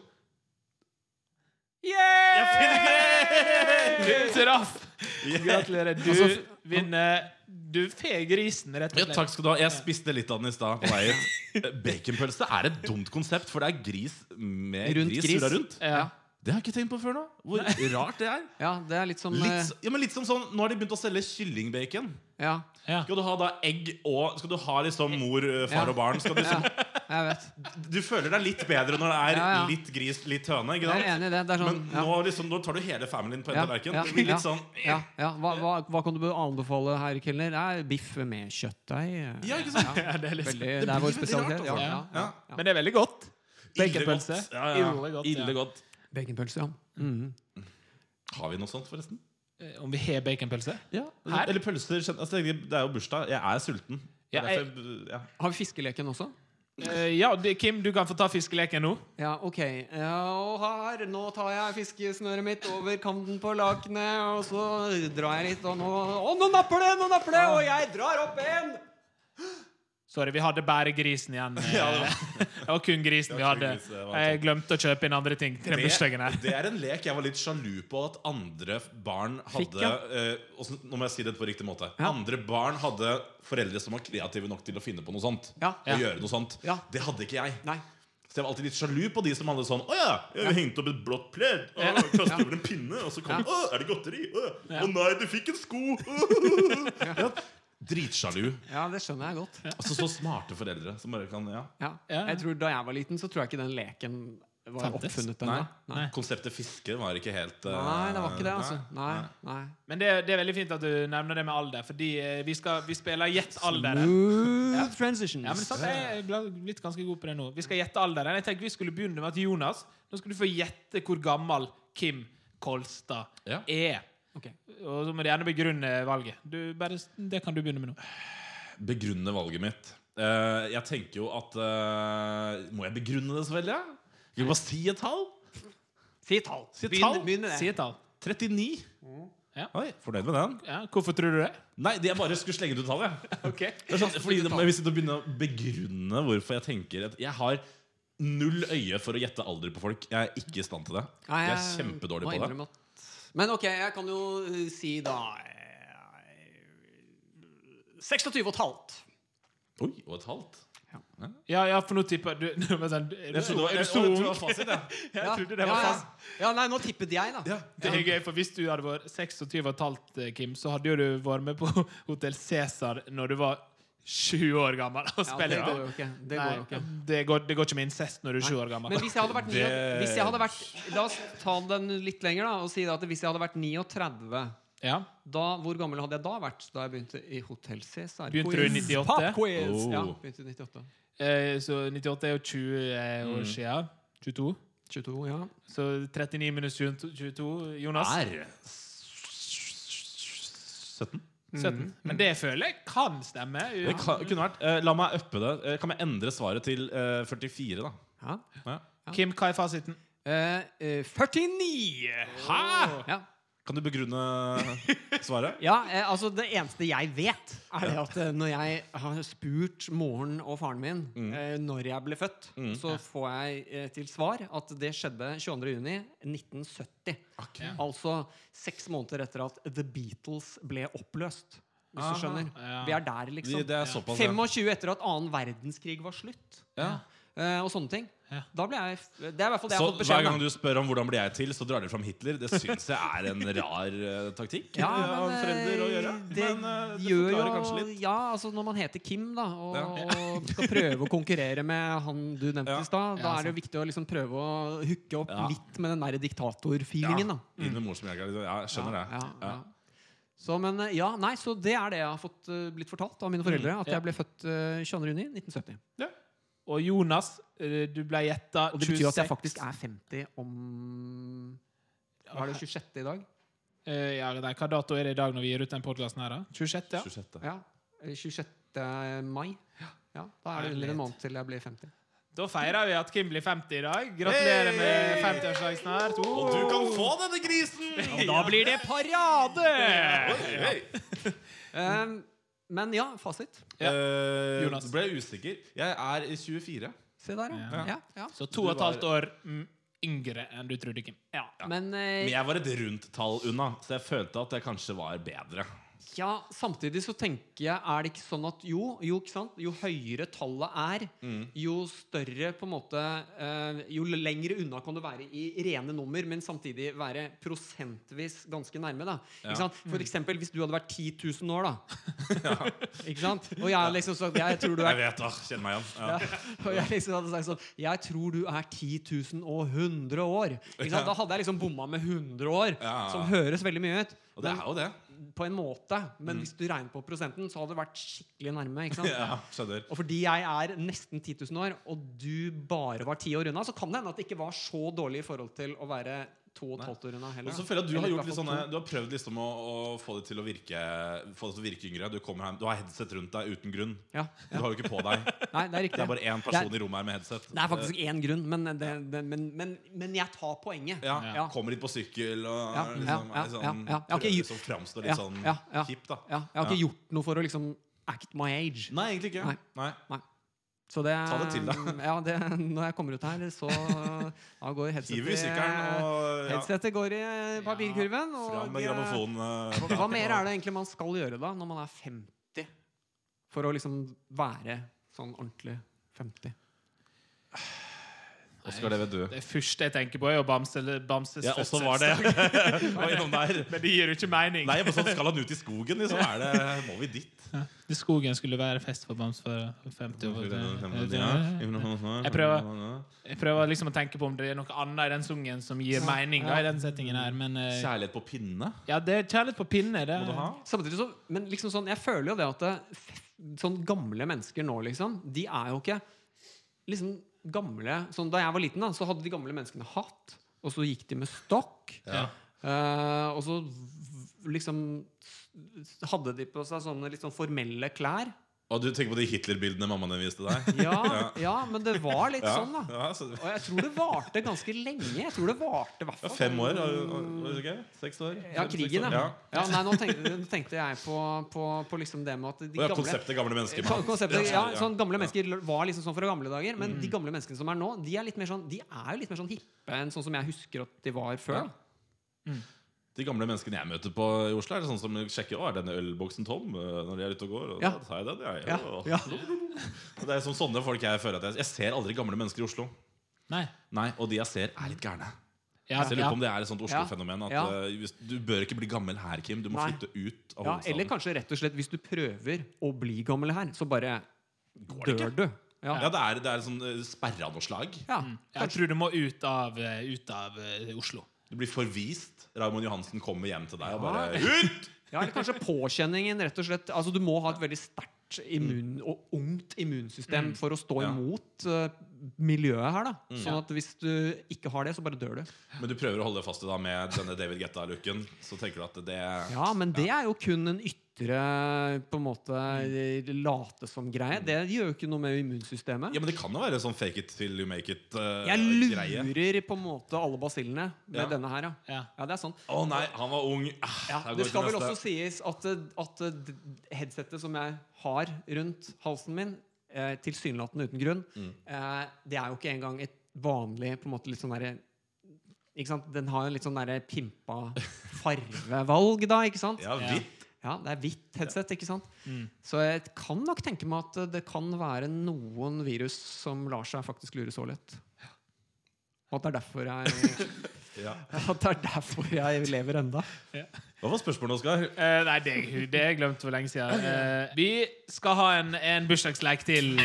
Jeg finner
Du traff!
Yeah.
Gratulerer.
Altså,
Du vinner Du får grisen, rett
Ja,
og slett.
takk skal du ha. Jeg spiste litt av den i stad. på vei hit. Baconpølse er et dumt konsept, for det er gris med
Rundt
gris,
gris.
surra rundt.
Ja.
Det har jeg ikke tenkt på før nå. Hvor rart det er.
ja, det er litt som
Litt,
eh,
s- ja, men litt som sånn, Nå har de begynt å selge kyllingbacon.
Ja,
Ja.
Skal du ha da egg og Skal du ha liksom mor, eh, far
Ja.
og barn? Skal du,
ja, jeg vet.
du føler deg litt bedre når det er
Ja, ja.
litt gris, litt høne. ikke
Jeg er
sant?
enig i det. Det er
Men
sånn ja.
nå, liksom, nå tar du hele familien på en
Ja,
tallerken.
ja,
Det blir
ja.
litt sånn
Ja, ja. Hva, hva, hva kan du anbefale, herr kelner? Det er biff med kjøttdeig. eh,
Ja, ikke sant?
Ja, det er litt-
Veldig, det,
blir
er vår
veldig
spesialitet.
rart,
Ja,
altså.
ja, ja.
Ja.
Men det er veldig godt. Baconpølse.
Ille godt. Ja, ja.
Ille godt, ja.
Ille godt.
Baconpølse, ja.
Har vi noe sånt, forresten?
Eh, Om vi har baconpølse?
Ja,
Her?
Eller pølser. skjønner- Altså, det er- det er jo bursdag. Jeg er sulten.
Ja,
Det er derfor jeg- ja.
Har vi fiskeleken også?
Eh, Ja, det- Kim, du kan få ta fiskeleken nå.
Ja, ok. Ja, og her, nå tar jeg fiskesnøret mitt over kanten på lakenet, og så drar jeg litt, og nå Å, nå napper det! Nå napper det! Og jeg drar opp en!
Sorry, vi hadde bare grisen igjen. eh. Det var kun grisen vi
Det var kun
hadde.
gris, det var
Jeg glemte å kjøpe inn andre ting til den bursdagen her.
Det, det er en lek jeg var litt sjalu på at andre barn hadde
Fikk, ja.
eh, og så- Nå må jeg si det på riktig måte.
Ja.
Andre barn hadde foreldre som var kreative nok til å finne på noe sånt.
Ja.
Og
Ja.
gjøre noe sånt.
Ja.
Det hadde ikke jeg.
Nei.
Så jeg var alltid litt sjalu på de som hadde sånn Å ja, jeg har hengt opp et blått pledd. Å, Kastet over en pinne, og så kom Å, er det godteri? Å, å nei, du fikk en sko! ja. Dritsjalu.
Ja, det skjønner jeg godt.
Altså så smarte foreldre som bare kan Ja.
Ja.
Ja.
Jeg tror Da jeg var liten, så tror jeg ikke den leken var
Fantes.
oppfunnet
Nei.
ennå. Nei.
Konseptet fiske var ikke helt eh,
Nei, det var ikke det, altså. Nei, nei.
Men det, det er veldig fint at du nevner det med alder, fordi eh, vi, skal, vi spiller Gjett alderen.
Smooth transitions.
Ja, men sant, jeg er bla- blitt ganske god på det nå. Vi skal gjette alderen. Jeg tenkte vi skulle begynne med at Jonas Nå skal du få gjette hvor gammel Kim Kolstad
Ja.
er.
Ok.
Og så må du gjerne begrunne valget. Du, bare, det kan du begynne med nå.
begrunne valget mitt. Eh, jeg tenker jo at eh, Må jeg begrunne det så veldig? ja? Skal vi bare si et tall?
Si tall.
Si et
Begynn-
tall.
Begynn med det.
Si et tall.
39.
Ja.
Oi, Fornøyd med den?
Ja, hvorfor tror du det?
Nei, det jeg bare skulle slenge ut et tall. jeg.
Ok.
Det er sånn, fordi det, Hvis jeg begynner å begrunne hvorfor jeg tenker at Jeg har null øye for å gjette alder på folk. Jeg er ikke i stand til det.
Nei,
Jeg er kjempedårlig
må
på det.
innrømme at- Men ok, jeg kan jo eh, si da eh, 26 og et halvt.
Oi, og et halvt.
Ja, ja, for nå tipper du du var sånn, Er du
Jeg
så
trodde det var-
er du
jeg
så
trodde det
ung?
var fasit, jeg.
Jeg
Ja,
trodde det
ja,
var
ja.
fast.
Ja, nei, nå tippet jeg, da.
Ja.
Det er gøy, for Hvis du hadde vært 26 og et halvt, eh, Kim, så hadde jo du vært med på Hotell Cæsar når du var sju år gammel. og
Ja,
spilt
det
inn.
går jo ikke. Det går jo ikke.
Nei, det går, det går ikke med incest når du er sju år gammel.
Men hvis jeg hadde vært, ni-
Det-
hvis jeg hadde vært La oss ta den litt lenger da og si da at hvis jeg hadde vært 39
Ja,
da, Hvor gammel hadde jeg da vært da jeg begynte i Hotell Cæsar?
Begynte du i 98?
Popquiz!
Oh.
Ja, begynte i 98.
eh, Så 98 er jo 20 år siden. 22.
22, ja.
Mm. Så 39 minus 22, Jonas?
Er 17.
17. Mm. Men det føler jeg kan stemme.
Det kan, kunne vært, eh, la meg uppe det. Eh, kan jeg endre svaret til eh, 44, da?
ja.
Kim, hva er fasiten?
Eh, eh, 49!
Hæ?
Ja.
Kan du begrunne svaret?
Ja, eh, altså Det eneste jeg vet, er det at eh, når jeg har spurt moren og faren min
Mm.
eh, når jeg ble født, så får jeg eh, til svar at det skjedde 22.6.1970.
Akkurat.
Altså seks måneder etter at The Beatles ble oppløst. Hvis
Aha,
du skjønner.
ja.
Vi er der, liksom.
Det, det er såpass. ja.
25 etter at annen verdenskrig var slutt.
Ja.
eh, og sånne ting.
Ja.
Da ble jeg f- Det er i hvert fall det jeg har
Så
fått
hver
beskjed
gang
om. da.
du spør om hvordan blir jeg til, så drar de fram Hitler. Det syns jeg er en rar eh, taktikk
Ja,
eh,
men,
av
eh,
foreldre å gjøre.
Det
men eh, det
gjør
forklarer
jo
kanskje litt.
Ja, altså når man heter Kim, da, og,
Ja.
og skal prøve å konkurrere med han du nevnte
Ja.
i stad, da
Ja,
er det jo viktig å liksom prøve å hooke opp
Ja.
litt med den der diktatorfeelingen, da.
Inn med morsmelka. liksom. Ja, jeg skjønner det.
Ja, ja. Så, men eh, ja, nei, så det er det jeg har fått, eh, blitt fortalt
Mm,
av mine foreldre. At
ja.
jeg ble født eh, 22. juni 1970
Og Jonas, eh, du ble gjetta
Og det betyr at jeg faktisk er 50 om Hva er det 26. i dag?
Eh, ja, nei, Hva dato er det i dag når vi gir ut den podkasten her? da? 26. ja?
26.
Ja. eh, 26. mai. Ja, Da er det under en måned til jeg blir 50.
Da feirer vi at Kim blir 50 i dag. Gratulerer med 50-årsdag snart. Oh,
Og du kan få denne grisen!
da blir det parade!
Hei.
Eh, men ja, fasit.
Ja.
Eh,
Jonas.
ble jeg usikker. Jeg er i 24.
Se der, ja.
Ja.
ja. ja,
Så to og et halvt år mm, yngre enn du trodde, Kim.
Men,
Men
eh,
jeg var et rundt tall unna, så jeg følte at jeg kanskje var bedre.
ja, samtidig så tenker jeg Er det ikke sånn at jo, jo, ikke sant? jo høyere tallet er,
Mm.
jo større på en måte eh, Jo lengre unna kan du være i rene nummer, men samtidig være prosentvis ganske nærme. da
Ja.
ikke sant? For eksempel hvis du hadde vært 10 000 år, da. ikke sant? Og jeg liksom så, jeg tror du
Jeg
er
vet, ah, kjenner meg igjen. Ja.
Og jeg liksom hadde sagt sånn Jeg tror du er 10 000 og 100 år. Ikke sant? Da hadde jeg liksom bomma med 100 år,
Ja.
som høres veldig mye ut.
Og det er jo det.
på en måte, men hvis du regner på prosenten, så hadde det vært skikkelig nærme. ikke sant?
Ja, skjønner.
Og fordi jeg er nesten 10 000 år, og du bare var 10 år unna, så kan det hende at det ikke var så dårlig i forhold til å være 2,5 år unna heller.
Og
da.
så føler jeg at Du har
Eller i
gjort litt
hvert fall
sånne
to.
Du har prøvd liksom å, å få det til å virke Få det til å virke yngre. Du kommer hjem Du har headset rundt deg uten grunn.
ja.
Du har jo ikke på deg.
Nei, det er
Det
riktig.
er bare én person
Det
i rommet her med headset.
Det er faktisk én grunn, men, det, det, men, men, men jeg tar poenget.
Eh, ja,
Ja.
Kommer hit på sykkel og
Ja,
liksom,
ja,
er
ja,
sånn,
ja, ja. Jeg har ikke
prøver
gjort-
liksom
Ja,
framstår litt sånn
ja, ja.
kjipt, da.
Ja, jeg har ikke gjort noe for å liksom act my age.
Nei, egentlig ikke.
Nei.
Nei.
Så det,
Ta det til deg.
Ja, det, når jeg kommer ut her, så da går headsetet
Hiver i sykkelen og ja,
Headsetet går i eh, papirkurven. Og,
fram med grammofonen. eh,
Og Hva mer er det egentlig man skal gjøre da når man er 50? For å liksom være sånn ordentlig 50.
Oskar, det vet du.
Det første jeg tenker på, er jo Bamse, Bamses
Ja, også var det. Var innom der.
Men det gir jo ikke mening.
Nei, på sånn skal han ut i skogen, liksom. Er det, må vi dit?
I skogen skulle være fest for Bams for 50 år. Jeg
Jeg
prøver. Jeg prøver liksom å tenke på om det er noe annet i den sangen som gir mening. da, i den settingen her, men... eh,
Kjærlighet på pinne
ja, det er kjærlighet på pinne. Det,
må du ha.
Samtidig så, men liksom sånn, jeg føler jo det at det, sånn gamle mennesker nå, liksom, de er jo ikke liksom gamle sånn, Da jeg var liten, da, så hadde de gamle menneskene hatt, og så gikk de med stokk.
Ja.
Eh, og så v- liksom hadde de på seg sånne litt sånn formelle klær.
Og du tenker på de Hitler-bildene mammaen din viste deg?
Ja, ja, men det var litt
Ja,
sånn, da.
ja, så,
Og jeg tror det varte ganske lenge. Jeg tror det varte i hvert
ja,
fall
fem år?
sånn-
var- Var det ikke? Seks år?
Ja, krigen, ja.
ja.
ja nei, nå tenkte, nå tenkte jeg på, på, på liksom det med at de
Og ja,
gamle
konseptet gamle mennesker.
Kon- Konseptet, ja,
ja. Mm.
sånn Gamle mennesker var liksom sånn fra gamle dager, men de gamle menneskene som er nå, de er, litt mer sånn, de er jo litt mer sånn hippe enn sånn som jeg husker at de var før. da.
De gamle menneskene jeg møter på i Oslo, er det sånn som sjekker Å, er denne ølboksen tom eh, når de er ute og går. Og
Ja.
da tar jeg den, jeg.
Ja,
Og-
ja.
Og Det er som sånne folk jeg føler at jeg, jeg ser aldri gamle mennesker i Oslo.
Nei.
Nei, Og de jeg ser, er litt gærne.
Ja,
Så jeg lurer
ja.
på om det er et sånt Oslo-fenomen. At
Ja.
eh, hvis, Du bør ikke bli gammel her, Kim. Du må
Nei.
flytte ut av
Ja,
hovedstaden.
eller kanskje rett og slett hvis du prøver å bli gammel her, så bare
det
dør du. Ja. Mm.
Ja, det er, det er sånn eh, sperra noe slag.
Ja.
Jeg tror du må ut av, eh, ut av eh, Oslo.
Du blir forvist. Raymond Johansen kommer hjem til deg og
Ja.
bare Ut!
ja, eller kanskje påkjenningen, rett og slett. Altså, du må ha et veldig sterkt immun, og ungt immunsystem for å stå
Ja.
imot eh, miljøet her, da. Sånn at hvis du ikke har det, så bare dør du.
Men du prøver å holde fast i deg med denne David Getta-looken. Så tenker du at det
Ja, men det er jo kun en ytre på en måte Mm. late som greie. Det gjør jo ikke noe med immunsystemet.
Ja, men det kan jo være sånn fake it eh, till you make it-greie.
Jeg lurer på en måte alle basillene med
Ja.
denne her, ja.
Ja.
Ja, det er sånn.
Å nei, han var ung. Ah,
Ja,
her går
det
ikke
skal vel
neste.
også sies at, at headsetet som jeg har rundt halsen min, eh, tilsynelatende uten grunn,
Mm.
eh, det er jo ikke engang et vanlig på en måte litt sånn derre ikke sant? Den har jo litt sånn derre pimpa farvevalg, da, ikke sant?
Ja, Mm.
Ja.
hvitt.
Ja, det er hvitt headset, ikke sant? Så jeg kan nok tenke meg at eh, det kan være noen virus som lar seg faktisk lure så lett. Og at det er derfor jeg,
Ja.
at det er derfor jeg lever enda.
Hva var spørsmålet, Oskar?
Eh, nei, det, det har jeg glemt for lenge siden. Eh, vi skal ha en, en bursdagsleik til.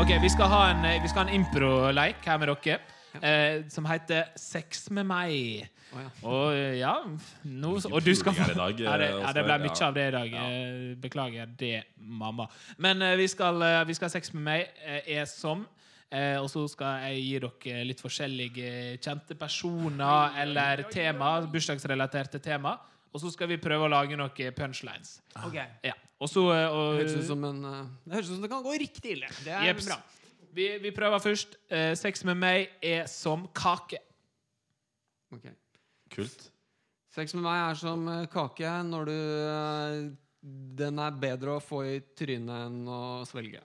Ok, Vi skal ha en, vi skal ha en improleik her med dere. eh, som heter 'Sex med meg'.
Å, ja.
Og eh, ja nå, Og du skal få
pulinger i dag, eh,
ja, det, ja, det ble
Oskar,
mye
ja.
av det i dag. Eh, Beklager det, mamma. Men eh, vi, skal, eh, vi skal ha sex med meg, eh, er som. Eh, og så skal jeg gi dere eh, litt forskjellige kjente personer eller tema, bursdagsrelaterte tema. Og så skal vi prøve å lage noen punchlines. Ja. Og så eh, og,
Det høres ut som en, eh, det høres ut som det kan gå riktig ille. Det er
Jeps.
bra.
Vi, vi prøver først. Eh, sex med meg er som kake.
Ok.
Kult.
Sex med meg er som eh, kake når du eh, Den er bedre å få i trynet enn å svelge.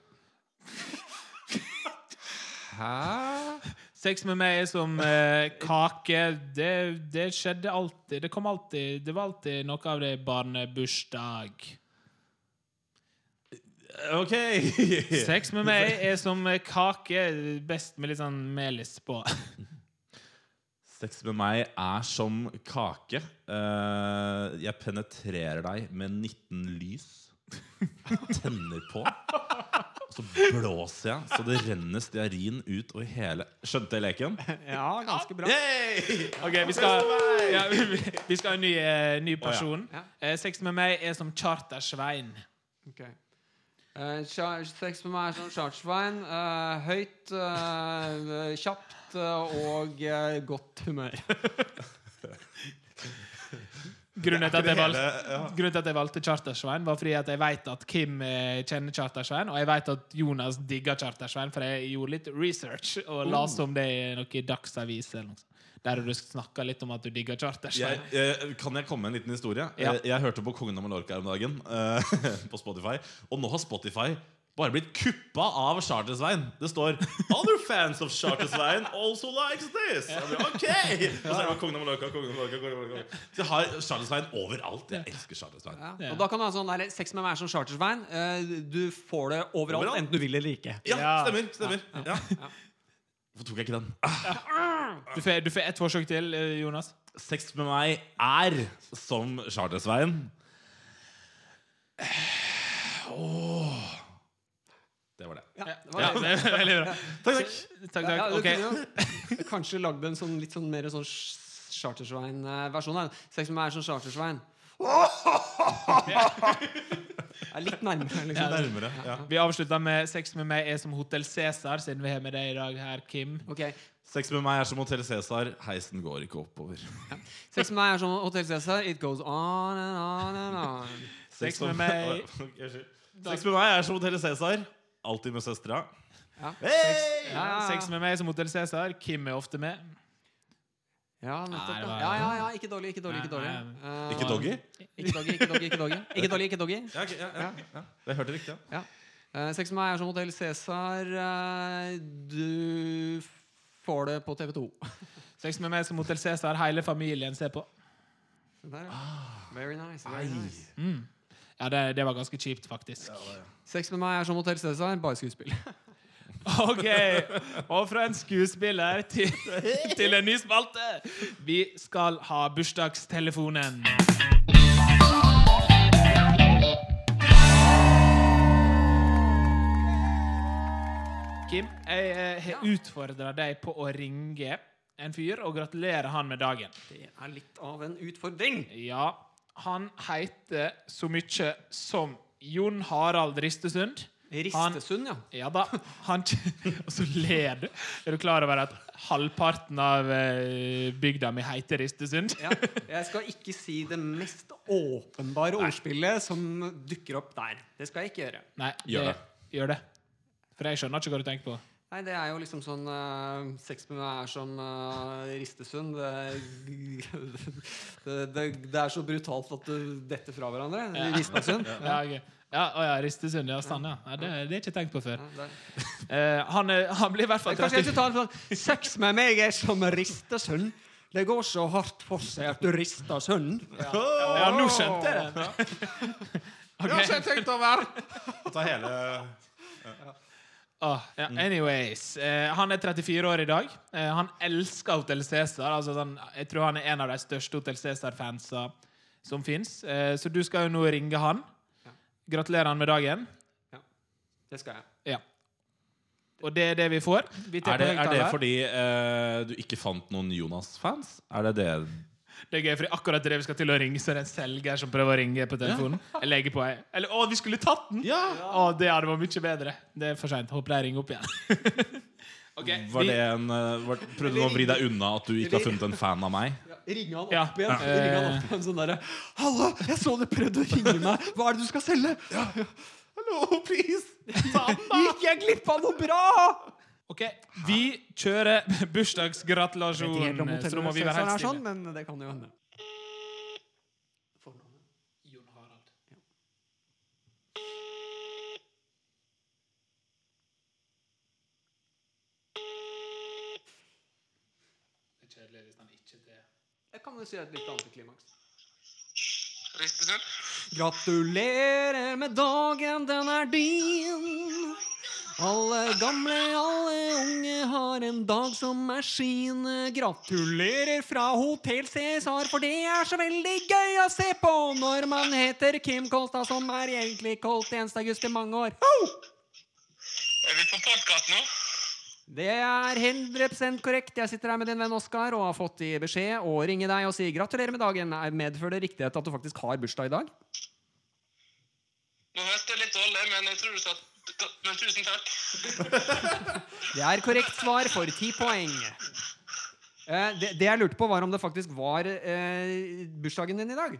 Hæ?
Sex med meg er som eh, kake. Det, det skjedde alltid. Det kom alltid Det var alltid noe av det barnebursdag.
Eh, Ok.
Sex med meg er som eh, kake, best med litt sånn melis på.
Sex med meg er som kake. Eh, jeg penetrerer deg med 19 lys. Tenner på. Og så blåser jeg, så det renner stearin ut over hele Skjønte jeg leken?
Ja, ganske bra.
Yay!
Ok, Vi skal, ja, vi, vi skal ha en ny, eh, ny person.
Ja.
Eh, sex med meg er som Charter-Svein.
Ok. Eh, cha- sex med meg er som chartsvein. eh, høyt, eh, kjapt eh, og eh, godt humør.
Grunnen til at jeg valgte,
Hele, ja.
grunnen til at jeg valgte Charter-Svein, var fordi at jeg vet at Kim eh, kjenner Charter-Svein, og jeg vet at Jonas digger Charter-Svein, for jeg gjorde litt research og leste om det i noe Dagsavis eller noe sånt. Der du snakka litt om at du digger
Jeg,
Charter-Svein.
eh, kan jeg komme med en liten historie?
Ja.
Eh, Jeg hørte på Kongen av Mallorca her om dagen eh, på Spotify. Og nå har Spotify bare blitt kuppa av Charter-Svein. Det står 'Other fans of Charter-Svein also likes this'. Jeg bare, ok! Og så er det bare Kongen av Mallorca, Kongen av Mallorca, Kongen av Mallorca. Så jeg har Charter-Svein overalt. Jeg elsker Charter-Svein.
Ja.
Ja.
Og da kan du ha sånn der, Sex med meg er som chartersvein. eh, du får det overalt,
Overalt.
enten du vil eller ikke.
Ja,
Ja.
stemmer. stemmer ja. Hvorfor tok jeg ikke den? Ah,
Du får, du får ett forsøk til, eh, Jonas.
Sex med meg er som Charter-Svein. Åh. Det var det.
Ja, det var
Ja,
det.
det er veldig bra.
Takk, takk.
Takk,
Ja,
takk.
du
Ok.
kunne jo kanskje lagd en sånn litt sånn mer sånn Chartersvein-versjon. Sex med meg er som Chartersvein. Ja, litt nærmere,
Litt
liksom.
nærmere. Ja.
Vi avslutter med Sex med meg er som Hotell Cæsar, siden vi har med deg i dag her, Kim.
Ok,
Sex med meg er som Hotell Cæsar. Heisen går ikke oppover.
Sex med meg er som Hotel Cæsar. It goes on and on and on.
Sex med meg.
Ok, unnskyld. Sex med meg er som Hotell Cæsar. Alltid med søstera.
Ja.
Hey!
Ja, ja,
Sex med meg er som Hotell Cæsar. Kim er ofte med.
Ja, nettopp.
Nei, det
Ja,
var-
ja, ja, ja. Ikke dårlig, ikke dårlig. Ikke dårlig,
Nei,
Eh,
Ikke doggy?
Ikke doggy, ikke doggy. Ikke doggy, ikke doggy, ikke doggy.
Ja, ok, ja, ja, ja. Jeg hørte riktig. Ja.
Ja. Eh, sex med meg er som Hotell Cæsar. Eh, du får det på TV2.
Sex med meg er som Hotell Cæsar. Hele familien ser på.
Der,
Ah.
ja. Very nice. Very nice.
Ja, det, det var ganske kjipt, faktisk.
Sex med meg er som Hotell Cæsar, bare skuespill.
OK. Og fra en skuespiller til, til en ny spalte. Vi skal ha bursdagstelefonen. Kim, jeg eh, har utfordra deg på å ringe en fyr og gratulere han med dagen.
Det er litt av en utfordring.
Ja, han heter så mye som Jon Harald Ristesund. Han-
Ristesund, ja.
ja da. Han, og så ler du. Er du klar over at halvparten av eh, bygda mi heter Ristesund?
ja. Jeg skal ikke si det mest åpenbare ordspillet som dukker opp der. Det skal jeg ikke gjøre.
Nei,
Gjør det.
Gjør det. For jeg skjønner ikke hva du tenker på.
Nei, det er jo liksom sånn eh, Sex med meg er som eh, Ristesund. Det, det, det, det er så brutalt at du detter fra hverandre. Ristesund. Ja,
Ja, ok. ja, å ja Ristesund. Ja, stand, ja. ja det, det har jeg ikke tenkt på før.
det er-
Eh, han, er- han blir i hvert fall
Kanskje jeg
30.
skal ta en sånn Sex med meg er som Ristesund. Det går så hardt for seg at du rister sønnen.
Ja, nå skjønte jeg det. Ok.
tenkt over! Ta hele
Ah, ja.
Mm.
Anyways, eh, han er 34 år i dag. Eh, han elsker Hotel Cæsar. Altså, sånn, jeg tror han er en av de største Hotel Cæsar-fansa som fins. Eh, så du skal jo nå ringe han.
Ja.
Gratulerer han med dagen.
Det skal jeg.
Ja. Og det er det vi får. Vi
Er det, er det
for...
fordi eh, du ikke fant noen Jonas-fans? Er det det?
det er gøy, fordi akkurat det vi skal til å ringe, så er det en selger som prøver å ringe på telefonen. Jeg legger på jeg. Eller, å, vi skulle tatt den!
Ja!
Å, det hadde vært mye bedre. Det er for seint. Håper de ringer opp igjen. Ok,
Var
vi-
det en, eh, var, prøvde du å vri deg unna at du ikke har funnet en fan av meg?
Ringe han opp
Ja.
igjen.
Ja.
Ringe han opp igjen sånn derre Hallo, jeg så du prøvde å ringe meg. Hva er det du skal selge? Hallo, please. Gikk jeg glipp av noe bra?
Ok, Vi kjører bursdagsgratulasjon. eh,
eh,
Så nå må vi være helt stille.
sånn, men det kan jo hende. Jeg kan jo si et litt antiklimaks.
Ristesund.
Gratulerer med dagen, den er din. Alle gamle, alle unge har en dag som er sin. Gratulerer fra Hotell Cæsar, for det er så veldig gøy å se på når man heter Kim Kolstad, som er egentlig Kolt eneste august i mange år. Ho!
Er vi på podkast nå?
Det er 100 korrekt. Jeg sitter her med din venn Oskar og har fått i beskjed å ringe deg og si gratulerer med dagen. Er- Medfører det riktighet at du faktisk har bursdag i dag?
Nå hørte jeg litt dårlig, men jeg tror du satt Men tusen takk.
Det er korrekt svar for ti poeng. Eh, det, det jeg lurte på, var om det faktisk var eh, bursdagen din i dag.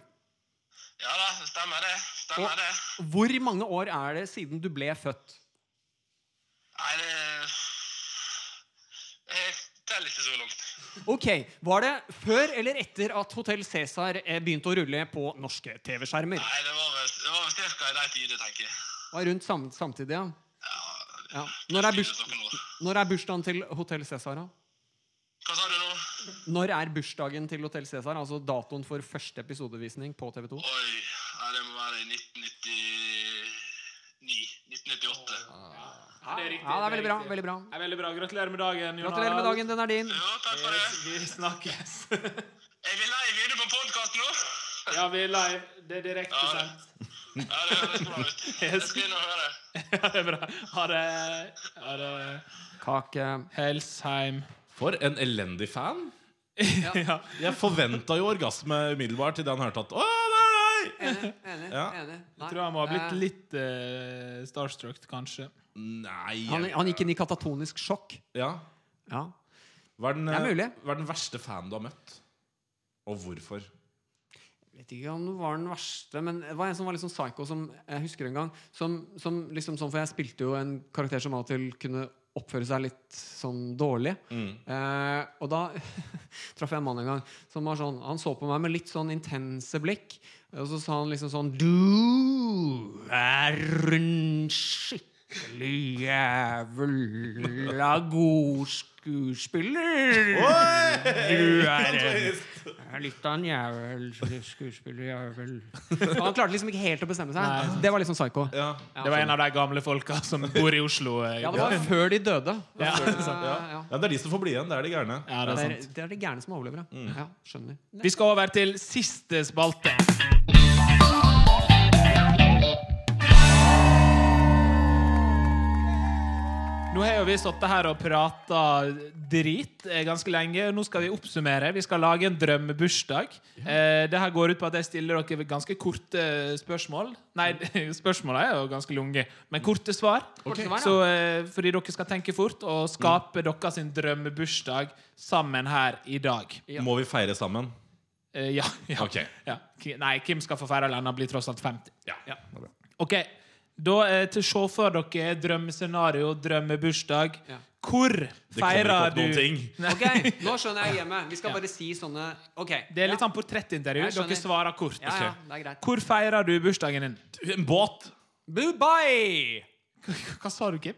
Ja da, stemmer det. Stemmer
Og-
det.
Hvor mange år er det siden du ble født?
Nei, det Eh, Jeg teller ikke så langt.
Ok, Var det før eller etter at Hotell Cæsar eh, begynte å rulle på norske TV-skjermer?
Nei, det var vel, det var vel cirka i de tider, tenker jeg.
Var Rundt sam samtidig, ja.
Ja,
ja. Når, er
det
burs
er noe nå.
når er bursdagen til Hotell Cæsar, da?
Hva sa du nå?
Når er bursdagen til Hotell Cæsar? Altså datoen for første episodevisning på TV2?
Oi, nei, det må være i 1999. 1998.
Ja, det er riktig,
sånn. Ja, det er
det
veldig
er
bra.
riktig.
veldig bra
Det er veldig bra. Gratulerer med dagen. Jon
Gratulerer med
Harald.
dagen, den er din.
Jo, takk for det.
Vi snakkes.
Er vi live inne på podkast nå?
ja, vi er live. Det er direkte
Ja.
sendt.
Ja, det høres bra ut. Jeg skal inn og høre.
Ja, det er bra. Ha det. Ha det.
Kake.
Helsheim.
For en elendig fan!
Ja.
Jeg forventa jo orgasme umiddelbart til han hørte at Å, det er deg!
enig, enig.
Ja.
enig. Nei.
Jeg tror han må ha blitt
Eh,
litt eh, starstruck, kanskje.
Nei
han, han gikk inn i katatonisk sjokk.
ja.
Ja.
hva, er den,
Det er
eh,
mulig.
hva er den verste fanen du har møtt? Og hvorfor?
vet ikke om det var den verste, men det var en som var litt sånn psycho, som jeg husker en gang. Som, som liksom sånn, For jeg spilte jo en karakter som av og til kunne oppføre seg litt sånn dårlig. Eh, og da traff jeg en mann en gang som var sånn Han så på meg med litt sånn intense blikk, og så sa han liksom sånn Du er en skikkelig jævla god skuespiller. Du er en jeg er litt av en jævel skuespiller, jævel. Han klarte liksom ikke helt å bestemme seg. Det var litt sånn psycho.
Ja.
Det var en av de gamle folka som bor i Oslo. eh,
Ja, det var før de døde.
Ja.
Ja.
ja.
Ja, det er de som får bli igjen. Det er de gærne.
Ja, det
Det
er
er,
sant. Mm.
det er de gærne som overlever, ja. ja skjønner.
Vi skal over til siste spalte. Nå har jo vi sittet her og prata drit eh, ganske lenge. Nå skal vi oppsummere. Vi skal lage en drømmebursdag. Eh, det her går ut på at jeg stiller dere ganske korte spørsmål. Nei, spørsmåla er jo ganske lange, men korte svar.
svar, ja. Mm.
Så eh, fordi dere skal tenke fort og skape deres drømmebursdag sammen her i dag.
Ja.
Må vi feire sammen?
Eh, ja, ja.
Ok.
ja. Ki- Nei, Kim skal få feire, eller han blir tross alt 50.
Ja.
Ok, da eh, til Se for dere drømmescenario, drømmebursdag.
Ja.
Hvor
Det kommer ikke
feirer
opp
du
noen ting.
Ok, nå skjønner jeg hjemme. Vi skal bare si sånne Ok.
Det er litt
ja.
sånn portrettintervju.
Jeg skjønner.
Dere svarer kort.
Ja, ja,
Ok.
det er greit.
Hvor feirer du bursdagen din?
En båt!
Dubai!
Hva sa du, Kim?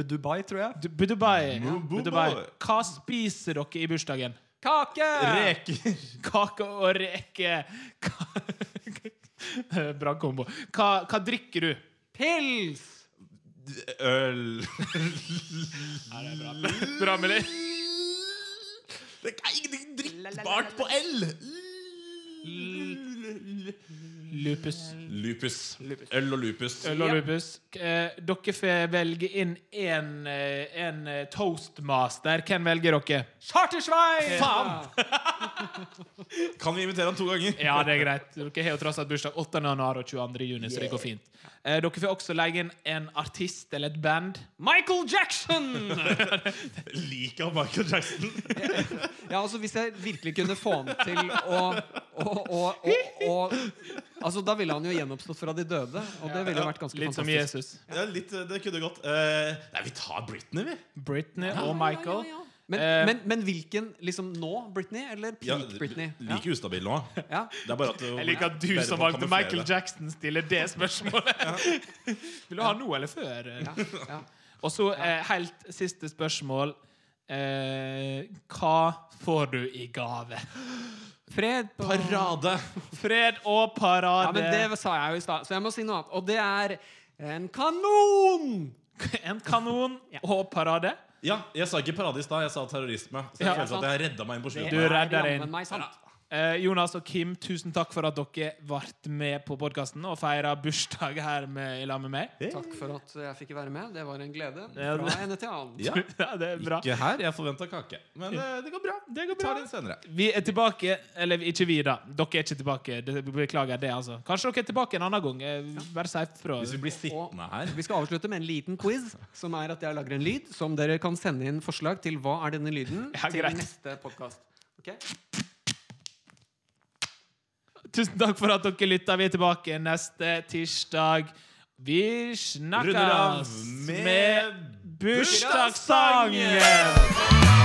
Dubai, tror jeg.
Du- Dubai.
Dubai.
Dubai. Hva spiser dere i bursdagen?
Kake!
Reker.
Kake og reke. Hva- Bra kombo. Hva, hva drikker du?
Pils!
Øl.
Bra med det.
Det er ingenting drikkbart på L.
Lupus.
Lupus. Øl og lupus.
Øl og lupus. Eh, dere får velge inn en, eh, en eh, toastmaster. Hvem velger dere?
Chartersveien! Faen!
Kan vi invitere han to ganger?
Ja, det er greit. Dere har jo tross alt bursdag 8. januar og 22. juni, så det går fint. Eh, dere får også legge inn en artist eller et band.
Michael Jackson!
Liker han Michael Jackson?
Ja, altså Hvis jeg virkelig kunne få ham til å, å, å, å, å Altså Da ville han jo gjenoppstått fra de døde, og det ville jo vært ganske
Litt som
fantastisk.
Jesus.
Ja, litt, eh, det kunne gått. Eh, nei, vi tar Britney, vi.
Britney og Michael.
Men,
Eh,
men, men hvilken liksom nå? Britney eller peak
Ja,
Britney? Ja.
Like ustabil nå.
Ja.
Det er bare at
Jeg liker at du
bedre
som
på å
valgte
kamuflere
Michael
det.
Jackson, stiller det spørsmålet. Vil du ha nå eller før?
Ja. Ja.
Og så eh, helt siste spørsmål. Eh, hva får du i gave?
Fred på
Parade!
Fred og parade.
Ja, men Det sa jeg jo i stad, så jeg må si noe annet. Og det er en kanon!
En kanon og parade.
Ja, jeg sa ikke parade i stad, jeg sa terrorisme. Så jeg
Ja,
følte
sant.
at jeg redda meg inn på
Du
slutten.
er- redder
Det er
inn.
jammen meg sant.
Eh, Jonas og Kim, tusen takk for at dere ble med på podkasten og feira bursdag her med, i lag med meg.
Takk for at jeg fikk være med. Det var en glede.
Ja, det-
Fra ene til annen.
Ja,
Ja, det er bra.
ikke her. Jeg forventa kake. Men eh, det går bra.
Det går
Vi tar
bra.
det senere.
Vi er tilbake Eller ikke vi, da. Dere er ikke tilbake. Det- Beklager det, altså. Kanskje dere er tilbake en annen gang. Eh, Bare si fra.
Hvis vi blir sittende her
Vi skal avslutte med en liten quiz, som er at jeg lager en lyd som dere kan sende inn forslag til hva er denne lyden
Ja,
til
greit.
neste podkast.
Tusen takk for at dere lytta. Vi er tilbake neste tirsdag. Vi
Runder av
snakkes
med
med bursdagssangen!